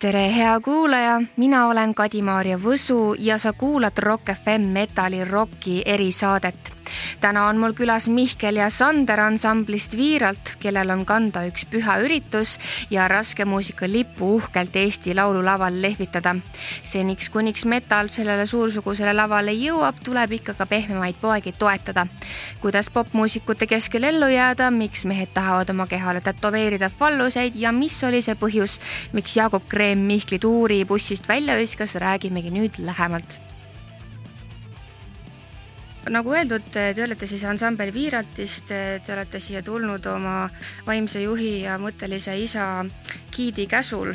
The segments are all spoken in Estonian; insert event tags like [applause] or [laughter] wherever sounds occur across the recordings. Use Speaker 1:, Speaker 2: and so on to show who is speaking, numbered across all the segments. Speaker 1: tere, hea kuulaja, mina olen Kadi-Maarja Võsu ja sa kuulad Rock FM Metali Rocki erisaadet. täna on mul külas Mihkel ja Sander ansamblist Viiralt, kellel on kanda üks püha üritus ja raske muusika lipu uhkelt Eesti laululaval lehvitada. seniks, kuniks metal sellele suursugusele lavale jõuab, tuleb ikka ka pehmemaid poegi toetada. kuidas popmuusikute keskel ellu jääda, miks mehed tahavad oma kehale tätoveerida falluseid ja mis oli see põhjus, miks Jaagup Kreem probleem Mihkli tuuri bussist välja viskas, räägimegi nüüd lähemalt. nagu öeldud, te olete siis ansambel Viiraltist, te olete siia tulnud oma vaimse juhi ja mõttelise isa giidi käsul.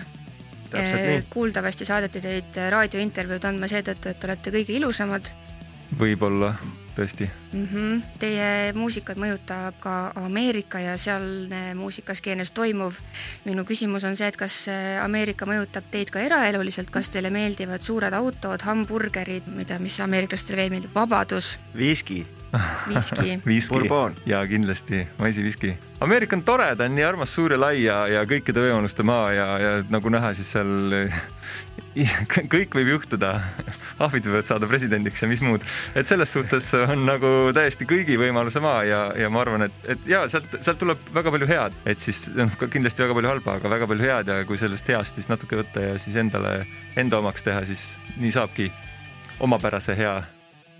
Speaker 2: Täpselt nii.
Speaker 1: kuuldavasti saadeti teid raadiointervjuud andma seetõttu, et te olete kõige ilusamad
Speaker 2: võib-olla tõesti
Speaker 1: mm.
Speaker 2: Mhm.
Speaker 1: -hmm. Teie muusikat mõjutab ka Ameerika ja sealne muusikaskeenes toimuv. minu küsimus on see, et kas Ameerika mõjutab teid ka eraeluliselt, kas teile meeldivad suured autod, hamburgerid, mida, mis ameeriklastele veel meeldib, vabadus,
Speaker 3: viski .
Speaker 2: [laughs]
Speaker 1: viski
Speaker 2: viski
Speaker 3: Bourbon.
Speaker 2: ja kindlasti maisiviski . Ameerika on tore , ta on nii armas suur ja lai ja , ja kõikide võimaluste maa ja , ja nagu näha , siis seal [laughs] kõ- kõik võib juhtuda . ahvid võivad saada presidendiks ja mis muud , et selles suhtes on nagu täiesti kõigi võimaluse maa ja , ja ma arvan , et , et ja sealt , sealt tuleb väga palju head , et siis noh , ka kindlasti väga palju halba , aga väga palju head ja kui sellest heast siis natuke võtta ja siis endale , enda omaks teha , siis nii saabki omapärase hea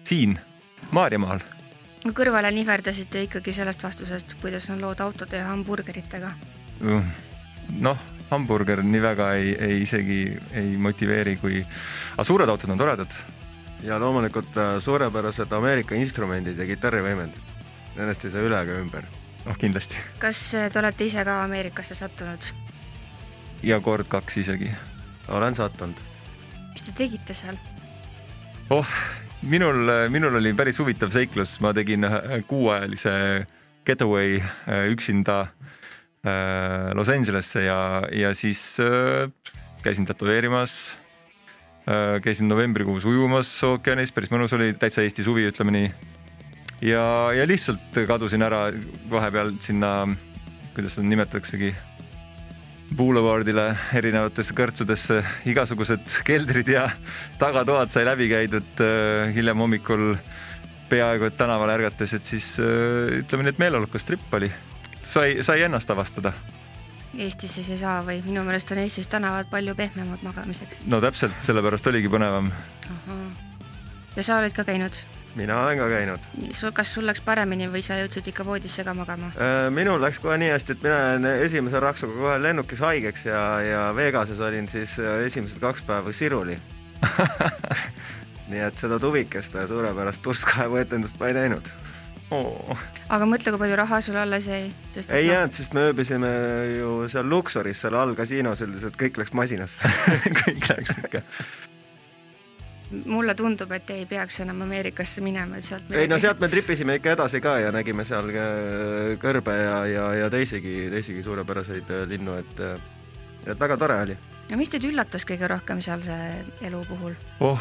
Speaker 2: siin Maarjamaal .
Speaker 1: kõrvale nihverdasite ikkagi sellest vastusest , kuidas on lood autode ja hamburgeritega .
Speaker 2: noh , hamburger nii väga ei , ei isegi ei motiveeri , kui , aga suured autod on toredad .
Speaker 3: ja loomulikult äh, suurepärased Ameerika instrumendid ja kitarrivõimendid . Nendest ei saa üle ega ümber .
Speaker 2: noh , kindlasti
Speaker 1: kas eh, te olete ise ka Ameerikasse sattunud ?
Speaker 2: ja kord kaks isegi .
Speaker 3: olen sattunud .
Speaker 1: mis te tegite seal ?
Speaker 2: oh , minul , minul oli päris huvitav seiklus , ma tegin ühe kuuajalise getaway äh, üksinda äh, Los Angelesse ja , ja siis äh, käisin tätoveerimas äh, . käisin novembrikuus ujumas ookeanis , päris mõnus oli , täitsa Eesti suvi , ütleme nii . ja , ja lihtsalt kadusin ära vahepeal sinna , kuidas seda nimetataksegi , Boulevardile erinevatesse kõrtsudesse , igasugused keldrid ja tagatoad sai läbi käidud äh, hiljem hommikul peaaegu et tänaval ärgates , et siis äh, ütleme nii , et meeleolukas tripp oli . sai , sai ennast avastada .
Speaker 1: Eestis siis ei saa või minu meelest on Eestis tänavad palju pehmemad magamiseks .
Speaker 2: no täpselt , sellepärast oligi põnevam . [laughs]
Speaker 1: Ahaa. ja sa oled ka käinud ?
Speaker 3: mina olen ka käinud .
Speaker 1: sul , kas sul läks paremini või sa jõudsid ikka voodisse ka magama ?
Speaker 3: Äh, minul läks kohe nii hästi , et mina jäin esimese raksuga kohe lennukis haigeks ja , ja Vegases olin siis äh, esimesed kaks päeva siruli . nii et seda tuvikest ja suurepärast purskkaevu etendust ma ei näinud .
Speaker 2: Oh.
Speaker 1: aga mõtle , kui palju raha sul alles jäi . noh,
Speaker 3: ei jäänud , sest me ööbisime ju seal Luksoris , seal all kasiinos üldiselt kõik läks masinasse .
Speaker 2: [laughs]
Speaker 3: [laughs]
Speaker 2: kõik läks ikka .
Speaker 1: mulle tundub , et ei peaks enam Ameerikasse minema , et sealt
Speaker 3: ei no sealt me tripisime ikka edasi ka ja nägime seal ka kõrbe ja , ja , ja teisigi , teisigi suurepäraseid äh, linnu , et äh, et väga tore oli .
Speaker 1: no mis teid üllatas kõige rohkem sealse elu puhul ?
Speaker 2: oh ,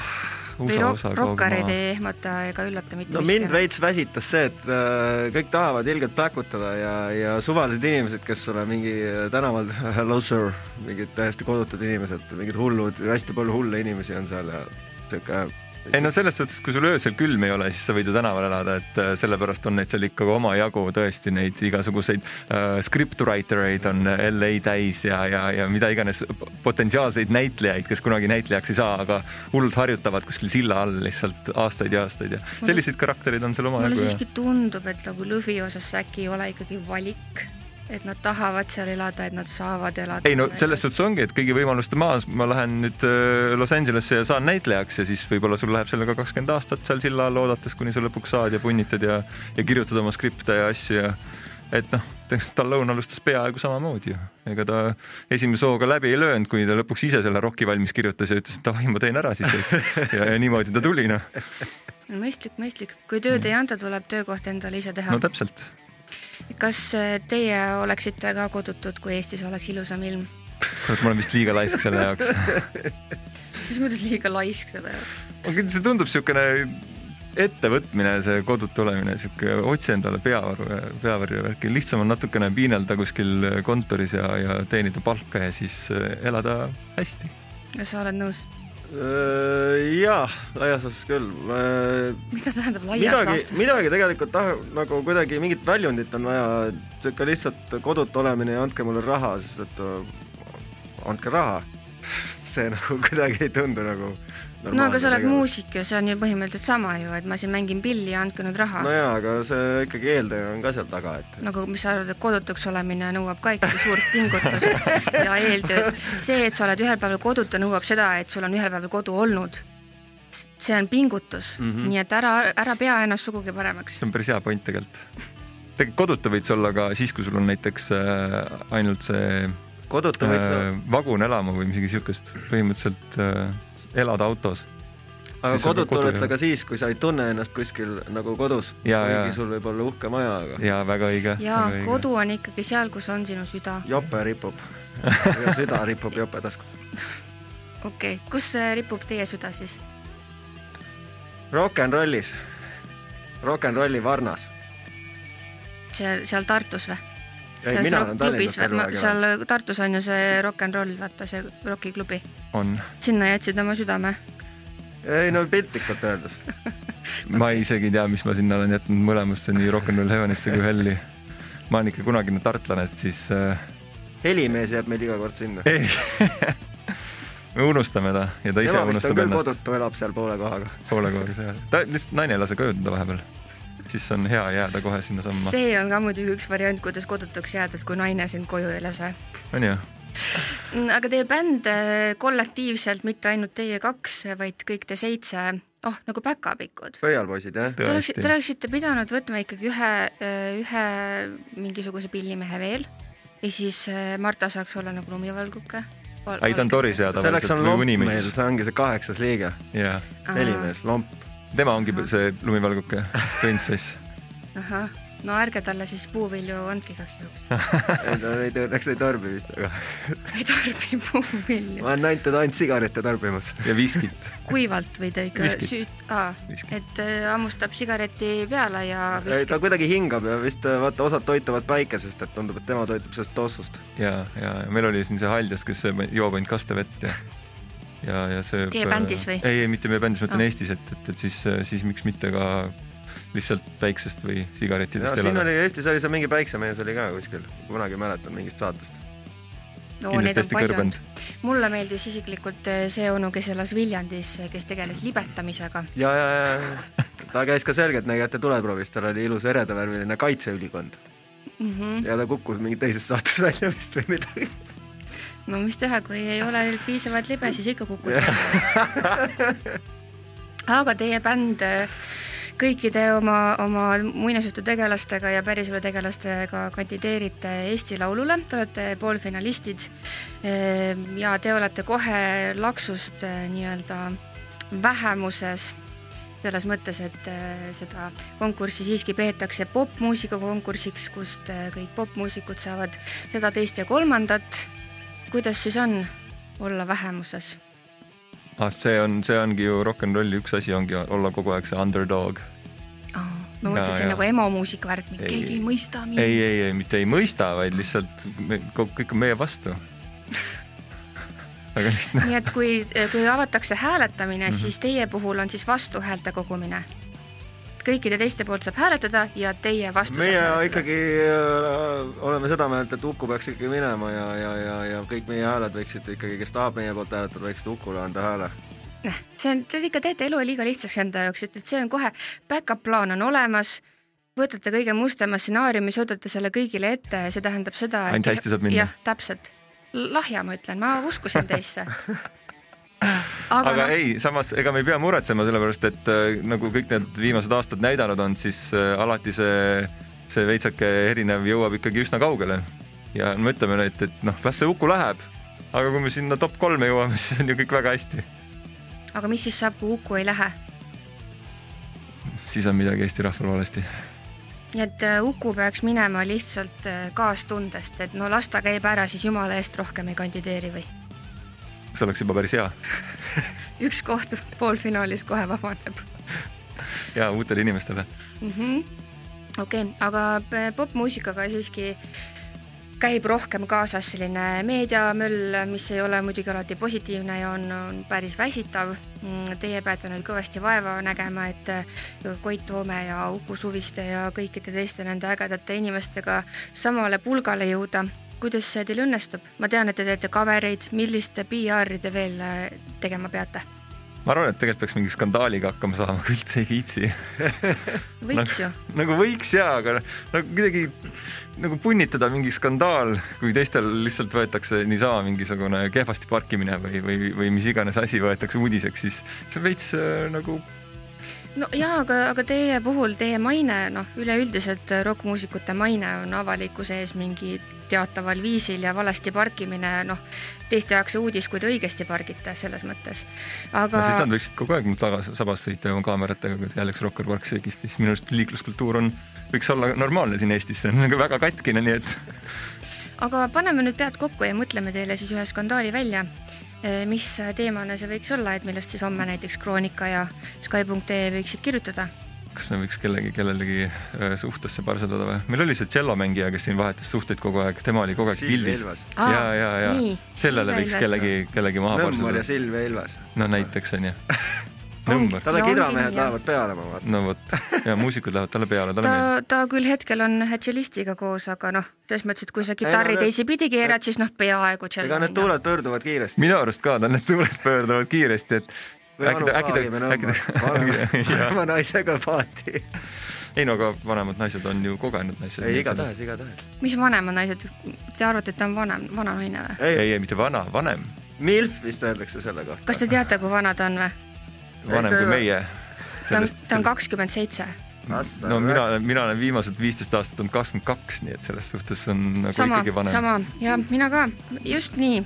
Speaker 1: või
Speaker 2: USA osa
Speaker 1: rock- , rokkareid ei ehmata ega üllata mitte
Speaker 3: no mind . veits väsitas see , et äh, kõik tahavad ilgelt pläkutada ja , ja suvalised inimesed , kes sulle mingi äh, tänaval [laughs] hello sir , mingid täiesti kodutud inimesed , mingid hullud , hästi palju hulle inimesi on seal ja sihuke
Speaker 2: ei no selles suhtes , kui sul öösel külm ei ole , siis sa võid ju tänaval elada , et äh, sellepärast on neid seal ikka omajagu tõesti neid igasuguseid äh, scriptwriter eid on LA täis ja , ja , ja mida iganes p- potentsiaalseid näitlejaid , kes kunagi näitlejaks ei saa , aga hullult harjutavad kuskil silla all lihtsalt aastaid ja aastaid ja selliseid karaktereid on seal
Speaker 1: mulle
Speaker 2: omajagu ja
Speaker 1: siiski tundub , et nagu lõvi osas äkki ei ole ikkagi valik , et nad tahavad seal elada , et nad saavad elada .
Speaker 2: ei no selles suhtes ongi , et kõigi võimaluste maas ma lähen nüüd äh, Los Angelesse ja saan näitlejaks ja siis võib-olla sul läheb sellega kakskümmend aastat seal silla all oodates , kuni sa lõpuks saad ja punnitad ja , ja kirjutad oma skripte ja asju ja et noh , eks Stallone alustas peaaegu samamoodi ju , ega ta esimese hooga läbi ei löönud , kuni ta lõpuks ise selle roki valmis kirjutas ja ütles , et davai , ma teen ära siis ja, ja niimoodi ta tuli noh ,
Speaker 1: mõistlik , mõistlik , kui tööd ei anta , tuleb töökoht endale ise teha
Speaker 2: no . täpselt
Speaker 1: kas eh, teie oleksite ka kodutud , kui Eestis oleks ilusam ilm ?
Speaker 2: kurat , ma olen vist liiga laisk selle jaoks .
Speaker 1: mis mõttes liiga laisk seda ei ole ?
Speaker 2: aga see tundub niisugune ettevõtmine, see kodutu olemine, sihuke otsi endale peavaru, peavarju värki, lihtsam on natukene piinelda kuskil kontoris ja, ja teenida palka ja siis äh, elada hästi.
Speaker 1: kas sa oled nõus ?
Speaker 3: äh, jaa , laias laastus küll . äh,
Speaker 1: mida tähendab laias
Speaker 3: midagi ,
Speaker 1: laastus ?
Speaker 3: midagi tegelikult taha- , nagu kuidagi mingit väljundit on vaja , et ikka lihtsalt kodutu olemine ja andke mulle raha , sest et äh, andke raha . [laughs] see nagu kuidagi ei tundu nagu
Speaker 1: no aga sa oled
Speaker 3: tegevus.
Speaker 1: muusik ja see on ju põhimõtteliselt sama ju , et ma siin mängin pilli ja andke nüüd raha no, .
Speaker 3: nojaa , aga see ikkagi eeltöö on ka seal taga , et
Speaker 1: nagu mis sa arvad , et kodutuks olemine nõuab ka ikkagi suurt pingutust ja eeltööd . see , et sa oled ühel päeval kodutu , nõuab seda , et sul on ühel päeval kodu olnud . see on pingutus mm ,
Speaker 3: Mhm.
Speaker 1: -hmm. nii et ära , ära pea ennast sugugi paremaks
Speaker 2: see on päris hea point tegelikult . tegelikult kodutu võid sa olla ka siis , kui sul on näiteks äh, ainult see
Speaker 3: kodutu võiks
Speaker 2: äh,
Speaker 3: olla ,
Speaker 2: vagunelamu või midagi siukest , põhimõtteliselt äh, elada autos .
Speaker 3: aga
Speaker 2: siis on ka
Speaker 3: kodutu
Speaker 2: kodu,
Speaker 3: oled sa
Speaker 2: jah.
Speaker 3: ka siis , kui sa ei tunne ennast kuskil nagu kodus .
Speaker 2: Jaa, jaa.
Speaker 3: sul võib olla uhke maja , aga
Speaker 2: ja väga õige .
Speaker 1: ja kodu on ikkagi seal , kus on sinu süda .
Speaker 3: jope
Speaker 2: [laughs]
Speaker 3: ripub ja süda ripub jope tasku .
Speaker 1: okei okay. , kus äh, ripub teie süda siis ?
Speaker 3: Rock n rollis , Rock n rolli varnas .
Speaker 1: seal , seal Tartus või ?
Speaker 3: ei , mina olen Tallinnas terve aeg elanud .
Speaker 1: seal Tartus on ju see Rock n Roll , vaata see rokiklubi ,
Speaker 2: on ,
Speaker 1: sinna jätsid oma südame .
Speaker 3: ei no piltlikult öeldes .
Speaker 2: ma isegi ei tea , mis ma sinna olen jätnud mõlemasse , nii Rock n Roll Heavenisse kui Helli . ma olen ikka kunagine tartlane , sest siis äh,
Speaker 3: helimees jääb meil iga kord sinna .
Speaker 2: ei [laughs] me unustame ta ja ta ise
Speaker 3: tema vist on
Speaker 2: unustab
Speaker 3: küll
Speaker 2: ennast
Speaker 3: kodutu , elab seal poole kohaga .
Speaker 2: poole kohaga seal . ta lihtsalt naine ei lase koju teda vahepeal . siis on hea jääda kohe sinnasamma ,
Speaker 1: see on ka muidugi üks variant , kuidas kodutuks jääda , et kui naine sind koju ei lase .
Speaker 2: onju .
Speaker 1: aga teie bänd äh, kollektiivselt , mitte ainult teie kaks , vaid kõik te seitse , oh nagu päkapikud .
Speaker 3: pöialpoisid jah ?
Speaker 1: Te oleksite , te oleksite pidanud võtma ikkagi ühe , ühe mingisuguse pillimehe veel ja siis äh, Marta saaks olla nagu lumivalguke .
Speaker 2: ei , ta on toris ja
Speaker 3: selleks
Speaker 2: tavaliselt
Speaker 3: on
Speaker 2: või
Speaker 3: lomp meil ,
Speaker 2: unimees .
Speaker 3: see ongi see kaheksas liige ,
Speaker 2: jaa ,
Speaker 3: helimees , lomp .
Speaker 2: tema ongi see lumivalguke printsess .
Speaker 1: ahah , no ärge talle siis puuvilju andke igaks juhuks ,
Speaker 2: [laughs]
Speaker 3: ei ta ei , õnneks ei tarbi vist , aga
Speaker 1: ei tarbi puuvilju
Speaker 3: ma . olen näinud teda ainult sigarette tarbimas .
Speaker 2: ja viskit .
Speaker 1: kuivalt või ta ikka
Speaker 2: Viskit.
Speaker 1: süüt- , aa ,
Speaker 2: viskit .
Speaker 1: et äh, hammustab sigareti peale ja
Speaker 3: ei ,
Speaker 1: viskab
Speaker 3: ta kuidagi hingab ja vist äh, vaata , osad toituvad päikesest , et tundub , et tema toitub sellest tossust .
Speaker 2: ja , ja meil oli siin see haljas , kes sööb , joob ainult kastevett ja , ja , ja sööb .
Speaker 1: Teie bändis või?
Speaker 2: ei , ei mitte meie bändis , ma ütlen
Speaker 1: Ah.
Speaker 2: Eestis , et , et , et siis , siis miks mitte ka lihtsalt päiksest või sigarettidest
Speaker 3: siin
Speaker 2: elada .
Speaker 3: oli , Eestis oli seal mingi päiksemees oli ka kuskil , kunagi mäletan mingist saatest .
Speaker 1: no neid on
Speaker 2: kindlasti hästi
Speaker 1: palju
Speaker 2: kõrbenud
Speaker 1: olnud .. mulle meeldis isiklikult äh, see onu , kes elas Viljandis , kes tegeles libetamisega .
Speaker 3: ja , ja ,
Speaker 2: [laughs]
Speaker 3: ja ta käis ka selgeltnägijate tuleproovis , tal oli ilus eredavärviline kaitseülikond
Speaker 1: Mm
Speaker 2: Mhm.
Speaker 1: -hmm.
Speaker 3: ja ta kukkus mingi teises saates [laughs] välja vist või midagi .
Speaker 1: no mis teha , kui ei ole piisavalt libe , siis ikka kukud välja . aga teie bänd äh, kõikide oma , oma muinasjututegelastega ja päriselu tegelastega kandideerite Eesti Laulule , te olete poolfinalistid eh, ja te olete kohe laksust eh, nii-öelda vähemuses selles mõttes , et eh, seda konkurssi siiski peetakse popmuusika konkursiks , kust eh, kõik popmuusikud saavad seda , teist ja kolmandat . kuidas siis on olla vähemuses ?
Speaker 2: ah , see on , see ongi ju rock n rolli üks asi ongi olla kogu aeg see underdog .
Speaker 1: ma mõtlesin ,
Speaker 2: Jaa,
Speaker 1: et see
Speaker 2: jaa.
Speaker 1: on nagu emomuusika värk ,
Speaker 2: Ei.
Speaker 1: keegi ei mõista mind .
Speaker 2: ei , ei , ei mitte ei mõista , vaid lihtsalt me, ko- kõik on meie vastu . [laughs] väga lihtne .
Speaker 1: nii et kui , kui avatakse hääletamine ,
Speaker 2: Mhm.
Speaker 1: siis teie puhul on siis vastuhäälte kogumine . kõikide teiste poolt saab hääletada ja teie vastu
Speaker 3: meie
Speaker 1: saab hääletada.
Speaker 3: ikkagi äh, oleme seda meelt , et Uku peaks ikkagi minema ja , ja , ja , ja kõik meie hääled võiksid ikkagi , kes tahab meie poolt hääletada , võiksid Ukule anda hääle .
Speaker 1: Noh, see on , te ikka teete elu liiga lihtsaks enda jaoks , et , et see on kohe , back-up plaan on olemas , võtate kõige mustema stsenaariumi , suudate selle kõigile ette ja see tähendab seda ,
Speaker 2: Ainult hästi saab minna.
Speaker 1: jah , täpselt . lahja , ma ütlen , ma uskusin
Speaker 2: [laughs]
Speaker 1: teisse . aga, noh,
Speaker 2: aga
Speaker 1: aga no,
Speaker 2: ei , samas ega me ei pea muretsema , sellepärast et äh, nagu kõik need viimased aastad näidanud on , siis äh, alati see , see veitsake erinev jõuab ikkagi üsna kaugele . ja no ütleme , et , et noh , las see Uku läheb , aga kui me sinna top kolme jõuame , [laughs] siis on ju kõik väga hästi .
Speaker 1: aga mis siis saab , kui Uku ei lähe ?
Speaker 2: siis on midagi Eesti rahval valesti .
Speaker 1: nii et äh, Uku peaks minema lihtsalt äh, kaastundest , et no las ta käib ära , siis jumala eest rohkem ei kandideeri või ?
Speaker 2: see oleks juba päris hea .
Speaker 1: üks koht poolfinaalis kohe vabaneb .
Speaker 2: ja uutele inimestele.
Speaker 1: Mhm. okei , aga p- popmuusikaga siiski käib rohkem kaasas selline meediamöll , mis ei ole muidugi alati positiivne ja on , on päris väsitav . Teie peate nüüd kõvasti vaeva nägema , et äh, Koit Toome ja Uku Suviste ja kõikide teiste nende ägedate inimestega samale pulgale jõuda . kuidas see teil õnnestub ? ma tean , et te teete covereid , milliste PR-i te veel äh, tegema peate ?
Speaker 2: ma arvan , et tegelikult peaks mingi skandaaliga hakkama saama , kui üldse ei viitsi .
Speaker 1: võiks ju .
Speaker 2: nagu võiks jaa , aga noh, nagu kuidagi nagu punnitada mingi skandaal , kui teistel lihtsalt võetakse niisama mingisugune kehvasti parkimine või , või , või mis iganes asi võetakse uudiseks , siis see on veits äh, nagu
Speaker 1: no jaa , aga , aga teie puhul teie maine , noh , üleüldiselt rokkmuusikute maine on avalikkuse ees mingi teataval viisil ja valesti parkimine , noh , teiste jaoks uudis , kui te õigesti pargite selles mõttes .
Speaker 2: no
Speaker 1: aga
Speaker 2: siis nad võiksid kogu aeg mul tagas , sabas sõita oma kaameratega , kui jälle üks Rocker Park söögistis , minu arust liikluskultuur on , võiks olla normaalne siin Eestis , see on nagu väga katkine , nii et
Speaker 1: aga paneme nüüd pead kokku ja mõtleme teile siis ühe skandaali välja . mis teemane see võiks olla , et millest siis homme näiteks Kroonika ja Sky.ee võiksid kirjutada ?
Speaker 2: kas me võiks kellegi , kellelegi äh, suhtesse parseldada või ? meil oli see tšellomängija , kes siin vahetas suhteid kogu aeg , tema oli kogu aeg
Speaker 3: Silvia
Speaker 2: pildis .
Speaker 3: Ilves.
Speaker 1: Aa,
Speaker 2: ja , ja , ja
Speaker 1: nii,
Speaker 2: sellele
Speaker 1: Silvia
Speaker 2: võiks
Speaker 1: Ilves.
Speaker 2: kellegi , kellegi maha
Speaker 3: Nõmmel ja
Speaker 2: parseldada .
Speaker 3: Silvia Ilves .
Speaker 2: no näiteks
Speaker 3: [laughs]
Speaker 2: onju . Nõmmel ,
Speaker 1: Ja
Speaker 3: talle
Speaker 1: ongi nii,
Speaker 3: kidramehed
Speaker 1: jah.
Speaker 3: lähevad peale , ma vaatan .
Speaker 2: no vot ja muusikud lähevad talle peale , talle meeldib .
Speaker 1: ta , ta küll hetkel on ühe tšellistiga koos , aga noh , selles mõttes , et kui sa kitarri
Speaker 3: need-
Speaker 1: teisipidi keerad , siis noh , peaaegu tšell .
Speaker 3: ega need tuuled pöörduvad kiiresti .
Speaker 2: minu arust ka , ta need tuuled pöörduvad kiiresti , et
Speaker 3: või
Speaker 2: äkki
Speaker 3: Anu
Speaker 2: ta , äkki
Speaker 3: Saarimäe
Speaker 2: ta , äkki [laughs]
Speaker 3: Nõmmel ,
Speaker 2: ta ,
Speaker 3: vanema naisega paati .
Speaker 2: ei no aga vanemad naised on ju kogenud naised .
Speaker 3: ei , igatahes , igatahes .
Speaker 1: mis vanemad naised , te arvate , et ta on vanem , vana naine või ?
Speaker 3: ei ,
Speaker 2: ei , ei mitte vana , vanem ,
Speaker 3: Milf vist öeldakse selle kohta .
Speaker 1: kas te teate , kui vana ta on või ?
Speaker 2: vanem
Speaker 3: see
Speaker 2: kui
Speaker 3: ei ole-
Speaker 2: meie .
Speaker 1: ta on , ta on kakskümmend seitse ,
Speaker 3: Asta
Speaker 2: no mina
Speaker 3: üheksa- ,
Speaker 2: mina olen viimased viisteist aastat olnud kakskümmend kaks , nii et selles suhtes on nagu
Speaker 1: sama
Speaker 2: ikkagi , vanem .
Speaker 1: sama ja mina ka , just nii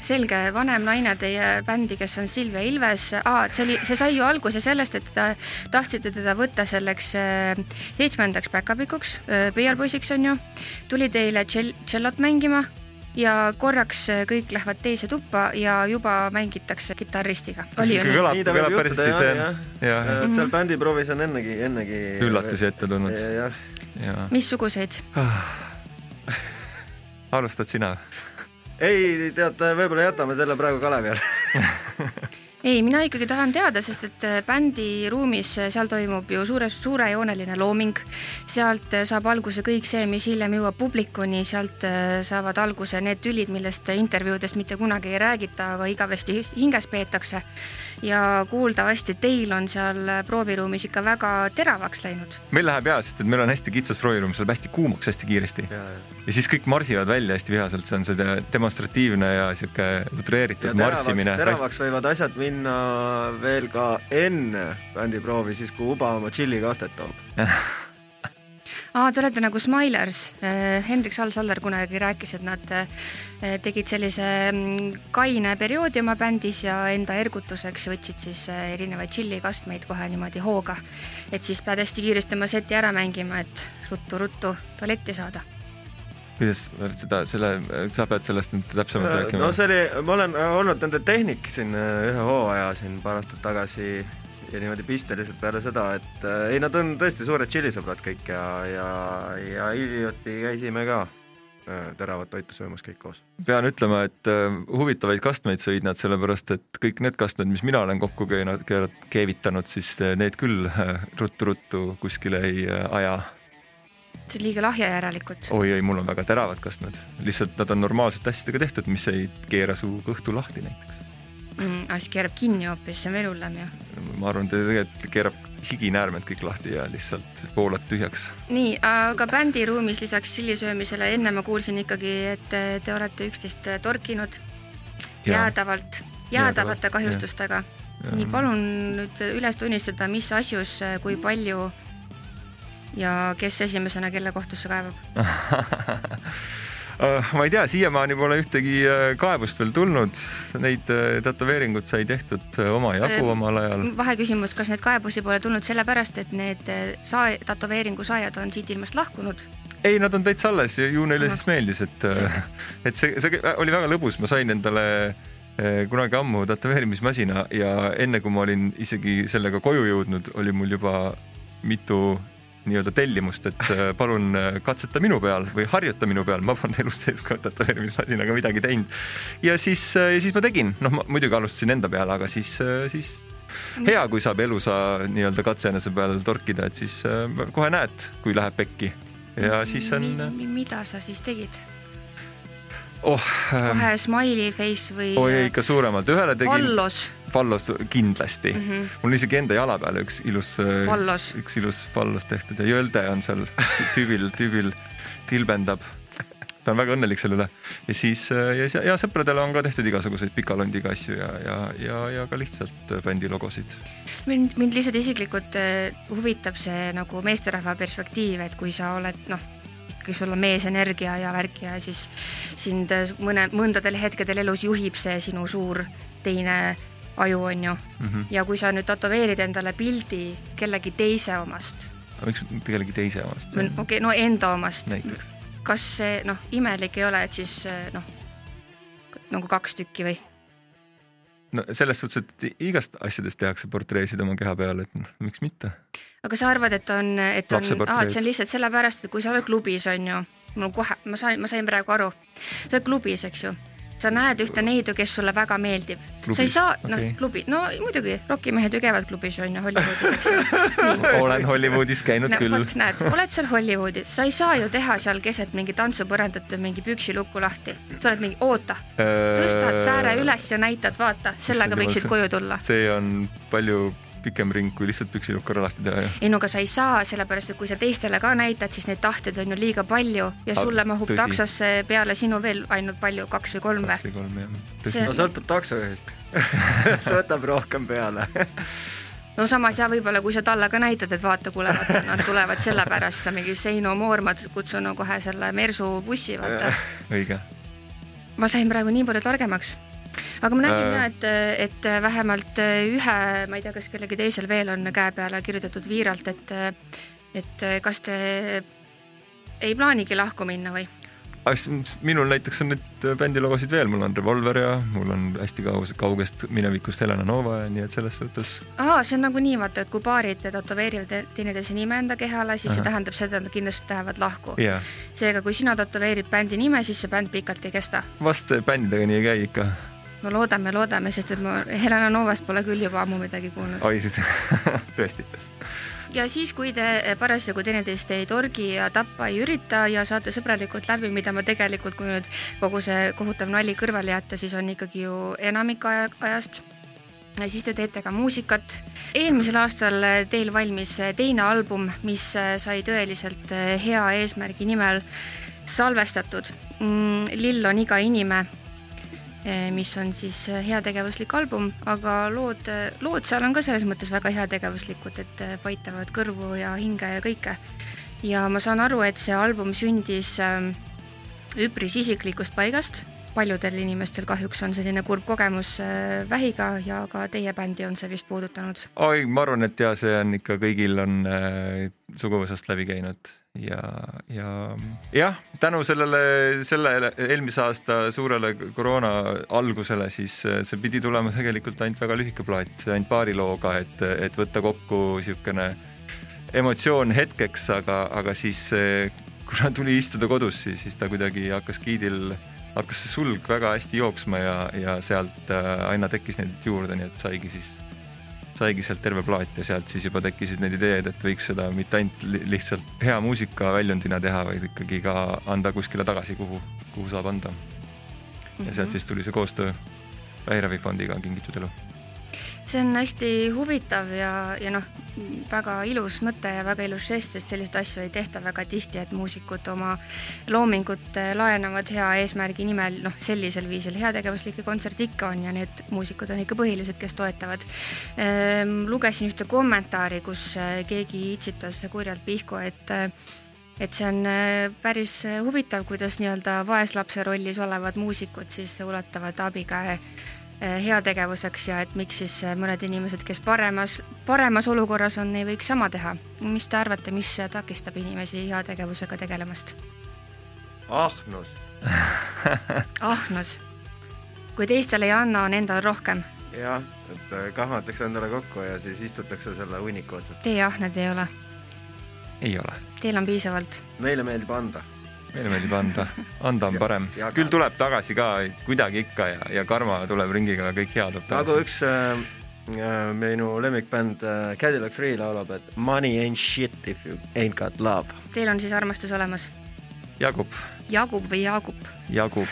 Speaker 1: selge , vanem naine teie bändi , kes on Silvia Ilves , see oli , see sai ju alguse sellest , et ta, tahtsite teda võtta selleks äh, seitsmendaks päkapikuks , PR-poisiks on ju , tuli teile tšell , tšellot mängima ja korraks äh, kõik lähevad teise tuppa ja juba mängitakse kitarristiga , oli ju nii ?
Speaker 2: kõlab ,
Speaker 3: Nii ta võib
Speaker 2: kõlab päris
Speaker 3: juhtuda,
Speaker 2: hästi , see
Speaker 3: jah, Äh,
Speaker 2: on jah
Speaker 3: Et seal bändiproovis on ennegi , ennegi
Speaker 2: üllatusi ette tulnud
Speaker 3: Ja- jah ,
Speaker 2: ja
Speaker 1: missuguseid ?
Speaker 2: Ah. alustad sina ?
Speaker 3: ei tead , võib-olla jätame selle praegu Kalevi
Speaker 2: [laughs]
Speaker 3: alla .
Speaker 1: ei , mina ikkagi tahan teada , sest et äh, bändi ruumis , seal toimub ju suures , suurejooneline looming , sealt äh, saab alguse kõik see , mis hiljem jõuab publikuni , sealt äh, saavad alguse need tülid , millest äh, intervjuudest mitte kunagi ei räägita , aga igavesti hinges peetakse . ja kuuldavasti teil on seal äh, prooviruumis ikka väga teravaks läinud .
Speaker 2: meil läheb hea , sest et meil on hästi kitsas prooviruum , see läheb hästi kuumaks hästi kiiresti
Speaker 3: ja ,
Speaker 2: ja siis kõik marsivad välja hästi vihaselt , see on see de- demonstratiivne ja sihuke
Speaker 3: ja
Speaker 2: utreeritud
Speaker 3: teravaks ,
Speaker 2: marssimine .
Speaker 3: teravaks võivad asjad minna veel ka enne bändiproovi , siis kui Uba oma tšillikastet toob .
Speaker 1: aa , te olete nagu Smilers . Hendrik Sal-Saller kunagi rääkis , et nad eh, tegid sellise mm, kaine perioodi oma bändis ja enda ergutuseks võtsid siis eh, erinevaid tšillikastmeid kohe niimoodi hooga . et siis pead hästi kiiresti oma seti ära mängima , et ruttu-ruttu tualetti saada .
Speaker 2: [laughs] kuidas seda , selle , sa pead sellest nüüd täpsemalt rääkima
Speaker 3: Äh, no ? see oli , ma olen äh, olnud nende tehnik siin äh, ühe hooaja siin paar aastat tagasi ja niimoodi pisteliselt peale seda , et äh, ei , nad on tõesti suured tšillisõbrad kõik ja , ja , ja hiljuti käisime ka äh, teravat toitu söömas kõik koos .
Speaker 2: pean ütlema , et äh, huvitavaid kastmeid sõid nad , sellepärast et kõik need kastmed , mis mina olen kokku keeranud , keevitanud , siis äh, need küll äh, ruttu-ruttu kuskile ei äh, aja .
Speaker 1: see on liiga lahja järelikult .
Speaker 2: oi ei , mul on väga teravad kastmed , lihtsalt nad on normaalsete asjadega tehtud , mis ei keera su kõhtu lahti näiteks .
Speaker 1: Mm, aga siis keerab kinni hoopis , see on veel hullem ju .
Speaker 2: ma arvan , et tegelikult keerab higinäärmed kõik lahti ja lihtsalt voolad tühjaks .
Speaker 1: nii , aga bändiruumis lisaks tšillisöömisele , enne ma kuulsin ikkagi , et eh, te olete üksteist eh, torkinud jäädavalt ,
Speaker 2: Jäädavalt,
Speaker 1: jäädavate
Speaker 2: jah.
Speaker 1: kahjustustega . nii , palun nüüd üles tunnistada , mis asjus , kui palju ja kes esimesena kelle kohtusse kaevab .
Speaker 2: Äh, ma ei tea , siiamaani pole ühtegi äh, kaebust veel tulnud , neid äh, tätoveeringuid sai tehtud äh, omajagu
Speaker 1: Ähm,
Speaker 2: omal ajal .
Speaker 1: vaheküsimus , kas neid kaebusi pole tulnud sellepärast , et need eh, saa- , tätoveeringu saajad on siit ilmast lahkunud ?
Speaker 2: ei , nad on täitsa alles ja ju neile
Speaker 1: Ahah.
Speaker 2: äh, siis meeldis , et , et see , see oli väga lõbus , ma sain endale äh, kunagi ammu tätoveerimismasina ja enne kui ma olin isegi sellega koju jõudnud, oli mul juba mitu nii-öelda tellimust, et äh, palun äh, katseta minu peal või harjuta minu peal, ma polnud elu sees ka tätoveerimismasinaga midagi teinud. ja siis äh,, ja siis ma tegin, noh, ma muidugi alustasin enda peale, aga siis, äh, siis hea, kui saab elusa nii-öelda katse enese peal torkida, et siis äh, kohe näed, kui läheb pekki ja siis on
Speaker 1: Mi . mida sa siis tegid ?
Speaker 2: oh ähm,
Speaker 1: kohe smiley face või ?
Speaker 2: oi ikka suuremalt , ühele tegin
Speaker 1: Vallos ,
Speaker 2: fallos kindlasti mm .
Speaker 1: Mhm.
Speaker 2: -hmm. mul on isegi enda jala peal üks ilus ,
Speaker 1: Fallos.
Speaker 2: üks ilus fallos tehtud ja jõlde on seal tü- tüübil , tüübil tilbendab . ta on väga õnnelik selle üle ja siis äh, ja, ja sõpradele on ka tehtud igasuguseid pika londiga asju ja , ja , ja , ja ka lihtsalt bändi logosid .
Speaker 1: mind , mind lihtsalt isiklikult eh, huvitab see nagu meesterahva perspektiiv , et kui sa oled noh , ikkagi sul on meesenergia ja värk ja siis sind eh, mõne , mõndadel hetkedel elus juhib see sinu suur teine aju , on ju . ja kui sa nüüd tätoveerid endale pildi kellegi teise omast ,
Speaker 2: aga miks kellegi teise omast ?
Speaker 1: okei okay, , no enda omast ,
Speaker 2: näiteks .
Speaker 1: kas see noh , imelik ei ole , et siis eh, noh , nagu kaks tükki või ?
Speaker 2: no selles suhtes , et igast asjadest tehakse portreesid oma keha peal , et noh, miks
Speaker 1: [laughs]
Speaker 2: mitte .
Speaker 1: aga sa arvad , et on , et on ,
Speaker 2: Lapseportreed.
Speaker 1: aa , et see on lihtsalt sellepärast , et kui sa oled klubis , on ju , mul kohe , ma sain , ma sain praegu aru , sa oled klubis , eks ju , sa näed ühte neidu , kes sulle väga meeldib . sa ei
Speaker 2: Klubis,
Speaker 1: saa , noh
Speaker 2: okei.
Speaker 1: okay. , klubi , no muidugi , rokimehed ju käivad klubis , on ju , Hollywoodis ,
Speaker 2: [laughs]
Speaker 1: eks ju .
Speaker 2: olen Hollywoodis käinud
Speaker 1: no
Speaker 2: küll
Speaker 1: vot , näed , oled seal Hollywoodis , sa ei saa ju teha seal keset mingi tantsupõrandat või mingi püksilukku lahti , sa oled mingi , oota , tõstad sääre . üles ja näitad , vaata , sellega
Speaker 2: Issand jumal,
Speaker 1: võiksid
Speaker 2: Äh, see-
Speaker 1: koju tulla .
Speaker 2: see on palju pikem ring kui lihtsalt püksilukk korra lahti teha ju .
Speaker 1: ei no aga sa ei saa , sellepärast et kui sa teistele ka näitad , siis neid tahteid on ju liiga palju ja
Speaker 2: Aga
Speaker 1: sulle mahub
Speaker 2: tõsi.
Speaker 1: taksosse peale sinu veel ainult palju , kaks või kolm
Speaker 2: kaks
Speaker 1: või ?
Speaker 2: või kolm jah .
Speaker 1: See-
Speaker 3: no sõltub taksojuhist . [laughs] see võtab rohkem peale .
Speaker 1: no samas ja võib-olla , kui sa talle ka näitad , et vaata , kuule , vaata , nad tulevad sellepärast , mingi Seino Moorma , kutsun no kohe selle Mersu bussi , vaata .
Speaker 2: õige .
Speaker 1: ma sain praegu nii palju targemaks . aga ma nägin
Speaker 2: Äh.
Speaker 1: ja , et , et vähemalt ühe , ma ei tea , kas kellelgi teisel veel on käe peale kirjutatud viiralt , et , et kas te ei plaanigi lahku minna või ?
Speaker 2: minul näiteks on neid bändilogosid veel , mul on Revolver ja mul on hästi kaugest , kaugest minevikust Helena Nova ja nii et selles suhtes
Speaker 1: aa , see on nagunii vaata , et kui paarid tätoveerivad te- teineteise nime enda kehale , siis see
Speaker 2: Ahah.
Speaker 1: tähendab seda , et nad kindlasti lähevad lahku .
Speaker 2: jaa ,
Speaker 1: seega , kui sina tätoveerid bändi nime , siis see bänd pikalt ei kesta .
Speaker 2: vast bändidega nii ei käi ikka .
Speaker 1: no loodame , loodame , sest et ma Helena Novast pole küll juba ammu midagi kuulnud .
Speaker 2: oi siis [laughs] tõesti .
Speaker 1: ja siis , kui te eh, parasjagu teineteist ei torgi ja tappa ei ürita ja saate sõbralikult läbi , mida ma tegelikult , kui nüüd kogu see kohutav nali kõrvale jätta , siis on ikkagi ju enamik aja , ajast . Ja siis te teete ka muusikat . eelmisel aastal eh, teil valmis teine album , mis eh, sai tõeliselt eh, hea eesmärgi nimel salvestatud . lill on iga inimene , eh, mis on siis heategevuslik album , aga lood , lood seal on ka selles mõttes väga heategevuslikud , et eh, paitavad kõrvu ja hinge ja kõike . ja ma saan aru , et see album sündis ähm, üpris isiklikust paigast , paljudel inimestel kahjuks on selline kurb kogemus äh, vähiga ja ka teie bändi on see vist puudutanud .
Speaker 2: oi , ma arvan , et jaa , see on ikka kõigil on äh, suguvõsast läbi käinud ja , ja jah , tänu sellele , sellele eelmise aasta suurele koroona algusele , siis äh, see pidi tulema tegelikult ainult väga lühike plaat , ainult paari looga , et , et võtta kokku niisugune emotsioon hetkeks , aga , aga siis äh, kuna tuli istuda kodus , siis , siis ta kuidagi hakkas giidil , hakkas see sulg väga hästi jooksma ja , ja sealt äh, aina tekkis neid juurde , nii et saigi siis saigi sealt terve plaat ja sealt siis juba tekkisid need ideed , et võiks seda mitte ainult li- lihtsalt hea muusika väljundina teha , vaid ikkagi ka anda kuskile tagasi , kuhu , kuhu saab anda . ja
Speaker 3: Mhm.
Speaker 2: sealt siis tuli see koostöö Vähiravifondiga Kingitud elu .
Speaker 1: see on hästi huvitav ja , ja noh , väga ilus mõte ja väga ilus žest , sest selliseid asju ei tehta väga tihti , et muusikud oma loomingut eh, laenavad hea eesmärgi nimel , noh , sellisel viisil heategevuslikke kontserte ikka on ja need muusikud on ikka põhilised , kes toetavad . lugesin ühte kommentaari , kus eh, keegi itsitas kurjalt pihku , et eh, et see on eh, päris huvitav , kuidas nii-öelda vaeslapse rollis olevad muusikud siis ulatavad abikäe eh, heategevuseks ja et miks siis eh, mõned inimesed , kes paremas , paremas olukorras on , ei võiks sama teha . mis te arvate , mis äh, takistab inimesi heategevusega tegelemast ?
Speaker 3: ahnus .
Speaker 1: ahnus . kui teistele ei anna, on endal rohkem.
Speaker 3: jah , et äh, kahmatakse endale kokku ja siis istutakse selle hunniku otsas .
Speaker 1: Teie ahned ei ole ,
Speaker 2: ei ole ,
Speaker 1: teil on piisavalt .
Speaker 3: meile meeldib anda .
Speaker 2: meile meeldib anda , anda on
Speaker 3: Ja-
Speaker 2: parem
Speaker 3: ja- ,
Speaker 2: küll tuleb tagasi ka kuidagi ikka ja , ja Karma tuleb ringiga , kõik hea tuleb
Speaker 3: nagu
Speaker 2: tagasi .
Speaker 3: üks äh, äh, minu lemmikbänd äh, Cadillac Three laulab , et money ain't shit if you ain't got love .
Speaker 1: Teil on siis armastus olemas ,
Speaker 2: jagub ,
Speaker 1: Jagub või Jaagup ?
Speaker 2: jagub ,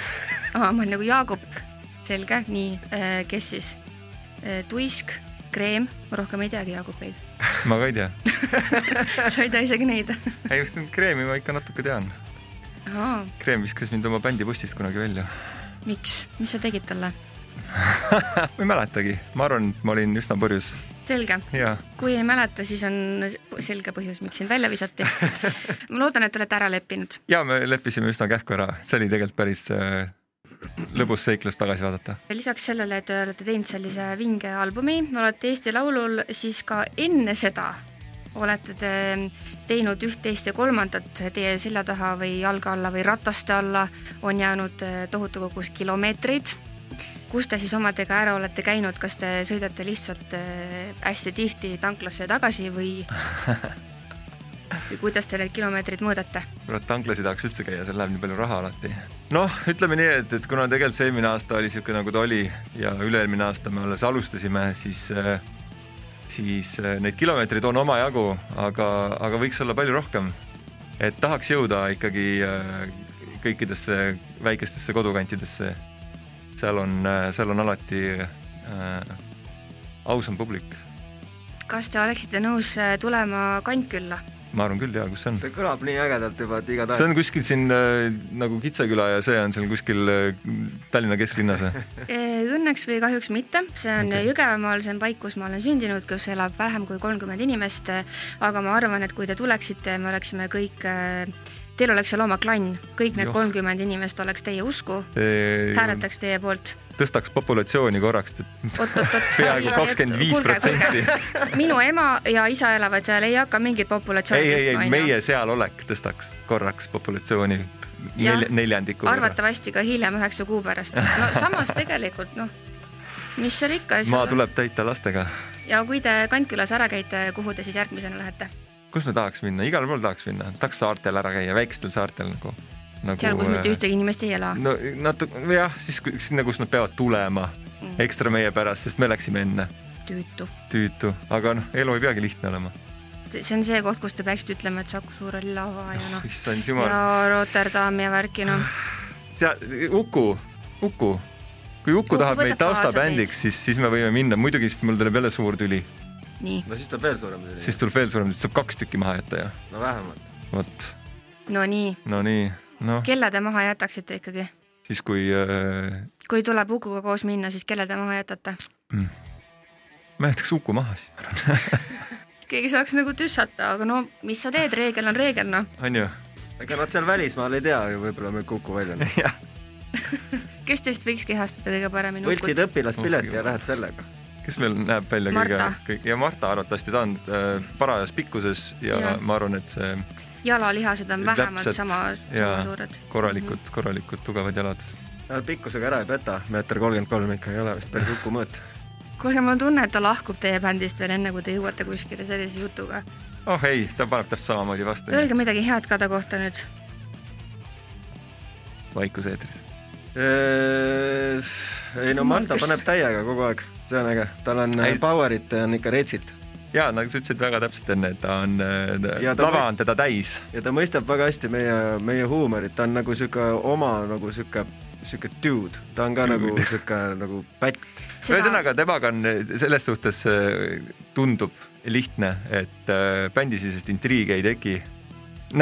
Speaker 1: aa , ma olin nagu Jaagup , selge , nii , kes siis ? tuisk , kreem , ma rohkem ei teagi Jaagupeid , [laughs]
Speaker 2: ma ka
Speaker 3: [laughs]
Speaker 2: ei tea ,
Speaker 1: sa ei tea isegi neid .
Speaker 2: ei just nüüd kreemi ma ikka natuke tean ,
Speaker 1: aa ,
Speaker 2: kreem viskas mind oma bändi bussist kunagi välja ,
Speaker 1: miks , mis sa tegid talle ?
Speaker 2: ma ei mäletagi , ma arvan , et ma olin üsna purjus
Speaker 1: selge ,
Speaker 2: ja
Speaker 1: kui ei mäleta , siis on selge põhjus , miks sind välja visati . ma loodan , et te olete ära leppinud .
Speaker 2: ja me leppisime üsna kähku ära , see oli tegelikult päris äh, lõbus seiklus tagasi vaadata .
Speaker 1: lisaks sellele , et te olete teinud sellise vinge albumi , olete Eesti Laulul , siis ka enne seda olete te teinud üht-teist ja kolmandat teie selja taha või jalge alla või rataste alla on jäänud eh, tohutu kogus kilomeetreid . kus te siis omadega ära olete käinud , kas te sõidate lihtsalt eh, hästi tihti tanklasse ja tagasi või või kuidas te need kilomeetrid mõõdate ?
Speaker 2: kurat , tanklas ei tahaks üldse käia , seal läheb nii palju raha alati . noh , ütleme nii , et , et kuna tegelikult see eelmine aasta oli niisugune , nagu ta oli ja üle-eelmine aasta me alles alustasime , siis äh, siis äh, neid kilomeetreid on omajagu , aga , aga võiks olla palju rohkem . et tahaks jõuda ikkagi äh, kõikidesse väikestesse kodukantidesse . seal on , seal on alati äh, ausam publik .
Speaker 1: kas te oleksite nõus eh, tulema Kantkülla ?
Speaker 2: ma arvan küll , jaa , kus see on ?
Speaker 3: see kõlab nii ägedalt juba , et
Speaker 2: see
Speaker 3: igatahes
Speaker 2: on kuskil siin äh, nagu Kitseküla ja see on seal kuskil äh, Tallinna kesklinnas äh. või ?
Speaker 1: Eh, Õnneks või kahjuks mitte , see on okay.
Speaker 2: Okei.
Speaker 1: Jõgevamaal , see on paik , kus ma olen sündinud , kus elab vähem kui kolmkümmend inimest , aga ma arvan , et kui te tuleksite , me oleksime kõik , teil oleks seal oma klann , kõik need
Speaker 2: Joh.
Speaker 1: kolmkümmend inimest oleks teie usku ,
Speaker 2: Eh,
Speaker 1: hääletaks teie poolt
Speaker 2: tõstaks populatsiooni korraks , et
Speaker 1: oot-oot-oot .
Speaker 2: peaaegu kakskümmend viis protsenti .
Speaker 1: minu ema ja isa elavad seal , ei hakka mingit populatsiooni
Speaker 2: ei , ei , ei ,
Speaker 1: onju.
Speaker 2: meie sealolek tõstaks korraks populatsiooni
Speaker 1: Jah.
Speaker 2: nelj- , neljandiku võrra .
Speaker 1: arvatavasti ka hiljem üheksa kuu pärast . no samas tegelikult noh , mis seal ikka .
Speaker 2: maa tuleb täita lastega .
Speaker 1: ja kui te Kantkülas ära käite , kuhu te siis järgmisena lähete ?
Speaker 2: kus me tahaks minna , igal pool tahaks minna , tahaks saartel ära käia , väikestel saartel nagu, nagu .
Speaker 1: seal , kus mitte ühtegi inimest ei ela .
Speaker 2: no natuke jah , siis kui- sinna , kus nad peavad tulema
Speaker 1: Mm.
Speaker 2: ekstra meie pärast , sest me läksime enne ,
Speaker 1: tüütu .
Speaker 2: tüütu , aga noh , elu ei peagi lihtne olema .
Speaker 1: see on see koht , kus te peaksite ütlema , et Saku Suur oli lava ja noh ,
Speaker 2: issand jumal
Speaker 1: ja Rotterdam ja värki noh .
Speaker 2: tea , Uku , Uku , kui Uku,
Speaker 1: Uku
Speaker 2: Uku tahab
Speaker 1: võtab
Speaker 2: meid
Speaker 1: kaasa
Speaker 2: taustabändiks , siis , siis me võime minna , muidugi siis mul tuleb jälle suur tüli ,
Speaker 1: nii ,
Speaker 3: no siis tuleb veel suurem selline
Speaker 2: siis , tuleb veel suurem , siis saab kaks tükki maha jätta ja
Speaker 3: no vähemalt .
Speaker 2: vot ,
Speaker 1: no nii ,
Speaker 2: no nii , noh ,
Speaker 1: kelle te maha jätaksite ikkagi ?
Speaker 2: siis kui äh,
Speaker 1: kui tuleb Ukuga koos minna , siis kelle te maha jätate ?
Speaker 2: ma jätaks Uku maha siis ,
Speaker 1: keegi saaks nagu tüssata , aga no mis sa teed , reegel on reegel noh .
Speaker 2: onju , [laughs]
Speaker 3: ega nad seal välismaal ei tea ju , võib-olla me ei kuku välja .
Speaker 1: kes teist võiks kehastada kõige paremini Ukut ?
Speaker 3: [laughs] võltsid õpilaspileti ja lähed sellega .
Speaker 2: kes meil näeb välja kõige
Speaker 1: Marta. ,
Speaker 2: kõige ja Marta arvatavasti ta on äh, parajas pikkuses ja, ja
Speaker 1: Jaa.
Speaker 2: ma arvan , et see
Speaker 1: jalalihased on vähemalt
Speaker 2: Täpselt,
Speaker 1: sama , sama
Speaker 2: jaa.
Speaker 1: suured .
Speaker 2: korralikud , korralikud tugevad jalad ,
Speaker 3: pikkusega ära ei peta , meeter kolmkümmend kolm ikka ei ole vist päris Uku mõõt .
Speaker 1: Mm. kuulge , mul on tunne , et ta lahkub teie bändist veel enne , kui te jõuate kuskile sellise jutuga .
Speaker 2: oh ei , ta paneb täpselt samamoodi vastu ,
Speaker 1: Öelge midagi head ka ta kohta nüüd .
Speaker 2: vaikus eetris .
Speaker 3: Äh, ei no [laughs] Marta paneb täiega kogu aeg , see on äge , tal on
Speaker 2: Ei-
Speaker 3: power'it on ikka retsilt
Speaker 2: ja nagu sa ütlesid väga täpselt enne , et ta on äh,
Speaker 3: Ja , ta
Speaker 2: lava
Speaker 3: või-
Speaker 2: on teda täis
Speaker 3: ja ta mõistab väga hästi meie , meie huumorit , ta on nagu sihuke oma nagu sihuke , sihuke dude , ta on ka
Speaker 2: Dude.
Speaker 3: dude. nagu sihuke nagu pätt .
Speaker 2: ühesõnaga , temaga on selles suhtes äh, tundub lihtne , et äh, bändisisest intriigi ei teki .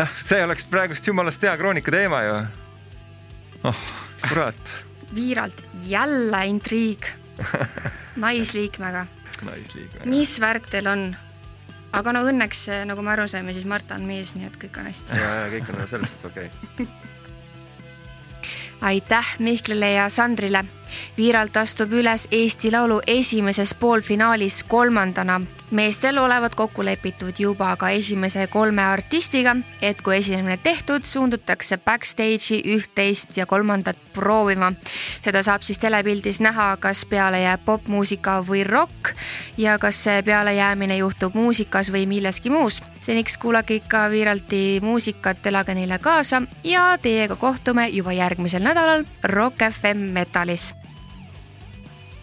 Speaker 2: noh , see oleks praegust jumalast hea kroonika teema ju . oh , kurat ,
Speaker 1: Viiralt jälle intriig naisliikmega .
Speaker 2: naisliiga .
Speaker 1: mis värk teil on ? aga no õnneks , nagu me aru saime , siis Marta on mees , nii et kõik on hästi .
Speaker 3: ja , ja kõik on nagu selles suhtes okei okay. .
Speaker 1: aitäh Mihklile ja Sandrile . Viiralt astub üles Eesti Laulu esimeses poolfinaalis kolmandana meestel olevat kokku lepitud juba ka esimese kolme artistiga, et kui esinemine tehtud, suundutakse backstage'i üht-teist ja kolmandat proovima. seda saab siis telepildis näha, kas peale jääb popmuusika või rokk ja kas see pealejäämine juhtub muusikas või milleski muus. seniks kuulake ikka Viiralti muusikat, elage neile kaasa ja teiega kohtume juba järgmisel nädalal Rock FM Metalis